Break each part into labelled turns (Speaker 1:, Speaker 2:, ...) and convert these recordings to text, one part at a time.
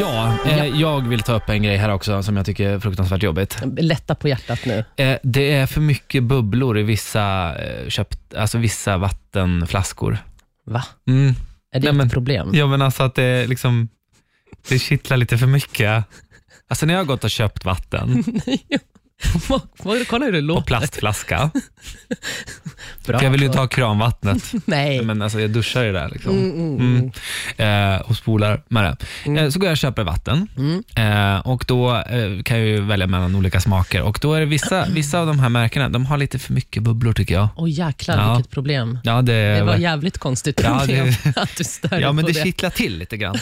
Speaker 1: Ja, eh, jag vill ta upp en grej här också som jag tycker är fruktansvärt jobbigt.
Speaker 2: Lätta på hjärtat nu.
Speaker 1: Eh, det är för mycket bubblor i vissa, eh, köpt, alltså vissa vattenflaskor.
Speaker 2: Va?
Speaker 1: Mm.
Speaker 2: Är det
Speaker 1: Nej,
Speaker 2: ett
Speaker 1: men-
Speaker 2: problem?
Speaker 1: Ja, men alltså att det är liksom, det kittlar lite för mycket. Alltså när jag har gått och köpt vatten
Speaker 2: Vad- vad- Kolla hur det
Speaker 1: och
Speaker 2: låter.
Speaker 1: plastflaska,
Speaker 2: Bra.
Speaker 1: för jag vill ju inte ha kranvattnet.
Speaker 2: Nej.
Speaker 1: Men alltså jag duschar i det här liksom.
Speaker 2: Mm, mm, mm.
Speaker 1: Eh, och spolar med det. Eh, så går jag och köper vatten
Speaker 2: Mm.
Speaker 1: eh, och då eh, kan jag ju välja mellan olika smaker och då är det vissa,
Speaker 2: Mm.
Speaker 1: vissa av de här märkena, de har lite för mycket bubblor tycker jag.
Speaker 2: Åh jäklar
Speaker 1: Ja.
Speaker 2: vilket problem.
Speaker 1: Ja, det,
Speaker 2: Det var jävligt konstigt
Speaker 1: Ja, det-
Speaker 2: problem att du stör
Speaker 1: ja
Speaker 2: dig
Speaker 1: men
Speaker 2: på
Speaker 1: det
Speaker 2: det.
Speaker 1: kittlar till lite grann.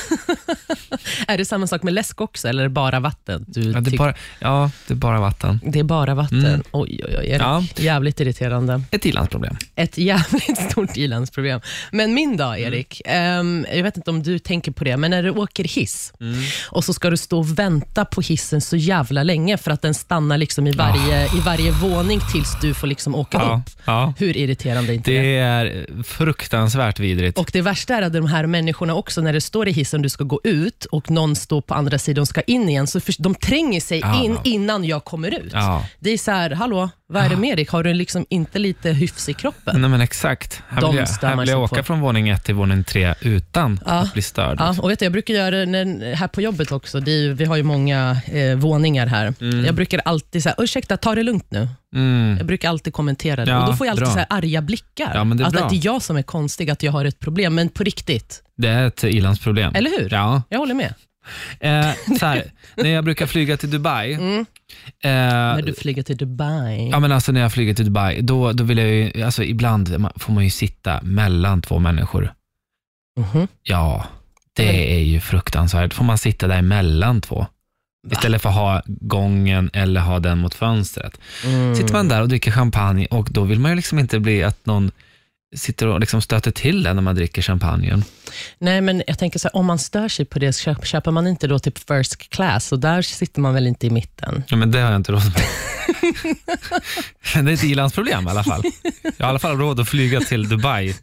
Speaker 2: Är det samma sak med läsk också eller är det bara vatten? Du
Speaker 1: Ja, det är
Speaker 2: tyck-
Speaker 1: bara, ja, det är bara vatten.
Speaker 2: det är bara vatten.
Speaker 1: Mm.
Speaker 2: Oj, oj, oj. Är det
Speaker 1: Ja.
Speaker 2: Jävligt irriterande.
Speaker 1: Ett i-landsproblem.
Speaker 2: Ett jävligt stort i-landsproblem. Men min dag,
Speaker 1: Mm.
Speaker 2: Erik. ehm, jag vet inte om du tänker på det, men när du åker hiss
Speaker 1: Mm.
Speaker 2: och så ska du stå och vänta på hissen så jävla länge för att den stannar liksom i, varje, i varje våning tills du får liksom åka
Speaker 1: Ah. Ja,
Speaker 2: upp.
Speaker 1: ja.
Speaker 2: Hur irriterande är inte det?
Speaker 1: Det är fruktansvärt vidrigt.
Speaker 2: Och Det värsta är att de här människorna också, när det står i hissen du ska gå ut och någon står på andra sidan och ska in igen, så för, de tränger sig
Speaker 1: Ja,
Speaker 2: in
Speaker 1: ja.
Speaker 2: innan jag kommer ut.
Speaker 1: Ja.
Speaker 2: Det är så här, hallå, vad är det med dig? Har du liksom inte lite hyfs i kroppen?
Speaker 1: Nej men exakt. Här
Speaker 2: De
Speaker 1: vill jag,
Speaker 2: stör
Speaker 1: här
Speaker 2: man
Speaker 1: vill jag
Speaker 2: sig
Speaker 1: åka
Speaker 2: på.
Speaker 1: från våning ett till våning tre utan
Speaker 2: Ja.
Speaker 1: att bli störd.
Speaker 2: Ja, och vet du, jag brukar göra det när, här på jobbet också. Det är, ju- vi har ju många eh, våningar här. Jag brukar alltid säga, ursäkta, ta det lugnt nu.
Speaker 1: Mm.
Speaker 2: Jag brukar alltid kommentera det.
Speaker 1: Ja,
Speaker 2: och då får jag alltid
Speaker 1: bra.
Speaker 2: så här arga blickar.
Speaker 1: Ja, men det är
Speaker 2: att,
Speaker 1: bra.
Speaker 2: att det är jag som är konstig, att jag har ett problem. Men på riktigt,
Speaker 1: Det är ett i-landsproblem.
Speaker 2: eller hur?
Speaker 1: Ja.
Speaker 2: Jag håller med.
Speaker 1: Eh, så här, när jag brukar flyga till Dubai,
Speaker 2: Mm. När
Speaker 1: eh,
Speaker 2: du flyger till Dubai.
Speaker 1: Ja, men alltså när jag flyger till Dubai, då, då vill jag ju, alltså ibland man- får man ju sitta mellan två människor.
Speaker 2: Mhm.
Speaker 1: Ja,
Speaker 2: Mm.
Speaker 1: det är ju fruktansvärt. Får man sitta där mellan två? Istället för att ha gången eller ha den mot fönstret.
Speaker 2: Mm.
Speaker 1: Sitter man där och dricker champagne och då vill man ju liksom inte bli att någon sitter och liksom stöter till en när man dricker champagnen.
Speaker 2: Nej, men jag tänker så här, om man stör sig på det, köp, köper man inte då typ first class? Och där sitter man väl inte i mitten?
Speaker 1: Ja, men det har jag inte råd med. Men det är ett i-landsproblem i alla fall. Jag har i alla fall råd att flyga till Dubai